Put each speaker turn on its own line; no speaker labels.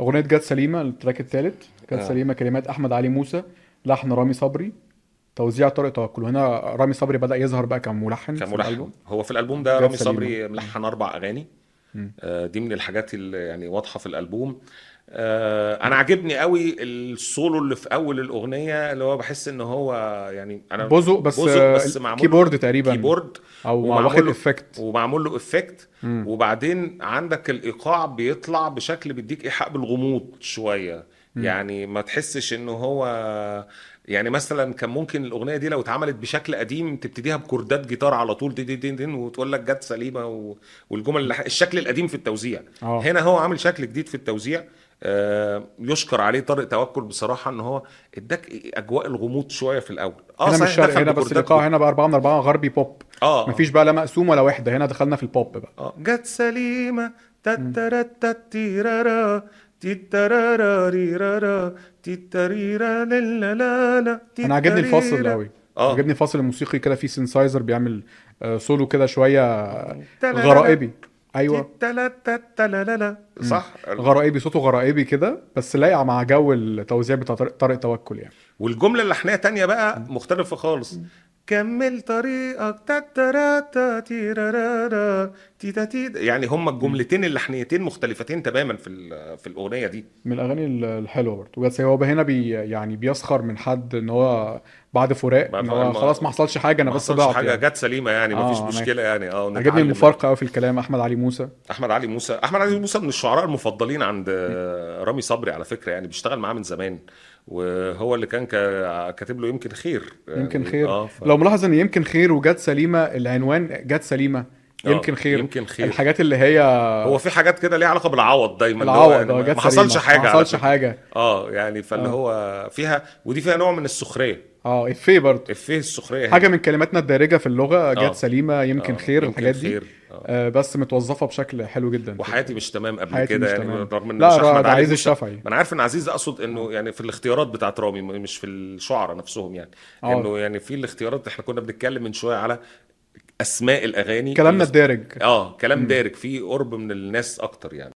اغنيه جت سليمه التراك الثالث جت
اه
سليمه كلمات احمد علي موسى لحن رامي صبري توزيع طارق توكل هنا رامي صبري بدا يظهر بقى كملحن في
كملحن
الالبوم
هو في الالبوم ده
جت
رامي
سليمة.
صبري ملحن اربع اغاني
مم.
آه، دي من الحاجات اللي يعني واضحه في الالبوم آه، انا عاجبني قوي السولو اللي في اول الاغنيه اللي هو بحس ان هو يعني انا
بوزق بس,
بوزق بس
آه،
معمول له
كيبورد تقريبا
كيبورد
او مع
ومعمول
واخد
له-
افكت
ومعمول له افكت
مم.
وبعدين عندك الايقاع بيطلع بشكل بيديك ايحاء بالغموض شويه يعني ما تحسش ان هو يعني مثلا كان ممكن الاغنيه دي لو اتعملت بشكل قديم تبتديها بكوردات جيتار على طول دي دي دي, دي وتقول لك جت سليمه و... والجمل اللي... الشكل القديم في التوزيع
اه
هنا هو عامل شكل جديد في التوزيع آه، يشكر عليه طارق توكل بصراحه ان هو اداك اجواء الغموض شويه في الاول اه
هنا مش
صحيح
شرق
دخل
هنا بس
بكوردات
الايقاع هنا بقى 4 من 4 غربي بوب
اه
مفيش بقى لا مقسوم ولا وحده هنا دخلنا في البوب بقى
اه جت سليمة تترتتيرارا تتراراريرارا تتريرا للالالا
انا عاجبني الفاصل
تتريرا.
قوي
اه
عاجبني الفاصل الموسيقي كده في سينسايزر بيعمل آه، سولو كده شويه آه، غرائبي ايوه
تتلتتلالالا. صح
غرائبي صوته غرائبي كده بس لايقه مع جو التوزيع بتاع طارق طارق توكل يعني
والجملة اللحنية تانية بقى مختلفة خالص كمل طريقك تتراتا تيرارارا تيتاتيت يعني هما الجملتين اللحنيتين مختلفتين تماما في ال- في الأغنية دي
من الاغاني ال- الحلوه برضه وجت هو هنا بي يعني بيسخر من حد ان هو بعد فراق
بقى
ان
فاهم
هو خلاص ما حصلش حاجه انا
ما
بس
حصلش
ضعت
حاجه
يعني
جت سليمه يعني ما فيش
اه انا
مشكله يعني اه
عجبني
نتعلم منها.
المفارقه قوي في الكلام احمد علي موسى
احمد علي موسى احمد علي موسى من الشعراء المفضلين عند آه، رامي صبري على فكره يعني بيشتغل معاه من زمان وهو اللي كان كا- كاتب له يمكن خير يعني
يمكن خير
اه ف...
لو ملاحظ ان يمكن خير وجت سليمه العنوان جت سليمه
آه،
يمكن خير
يمكن خير
الحاجات اللي هي
هو في حاجات كده ليها علاقه بالعوض دايما اللي هو
العوض اه
يعني
جت
ما
سليمه
حصلش حاجه
ما
على
حصلش
فكره
حاجه
اه يعني فاللي
آه.
هو فيها ودي فيها نوع من السخريه
اه افيه برضه
افيه السخريه هنا
حاجه من كلماتنا الدارجه في اللغه
إيه. آه.
جت سليمه يمكن
آه،
خير
يمكن
الحاجات دي
خير آه.
آه بس متوظفه بشكل حلو جدا في
وحياتي مش تمام قبل
حياتي
كده
مش
يعني
تمام
رغم ان
لا
مش
را-
احمد
ده
علي
عايز
موسى
الشافعي
ما انا عارف ان عزيز اقصد انه يعني في الاختيارات بتاعت رامي م- مش في الشعراء نفسهم يعني
اه
انه يعني في الاختيارات احنا كنا بنتكلم من شويه على اسماء الاغاني
كلامنا
اللي
الدارج
اه كلام
مم.
دارج فيه قرب من الناس اكتر يعني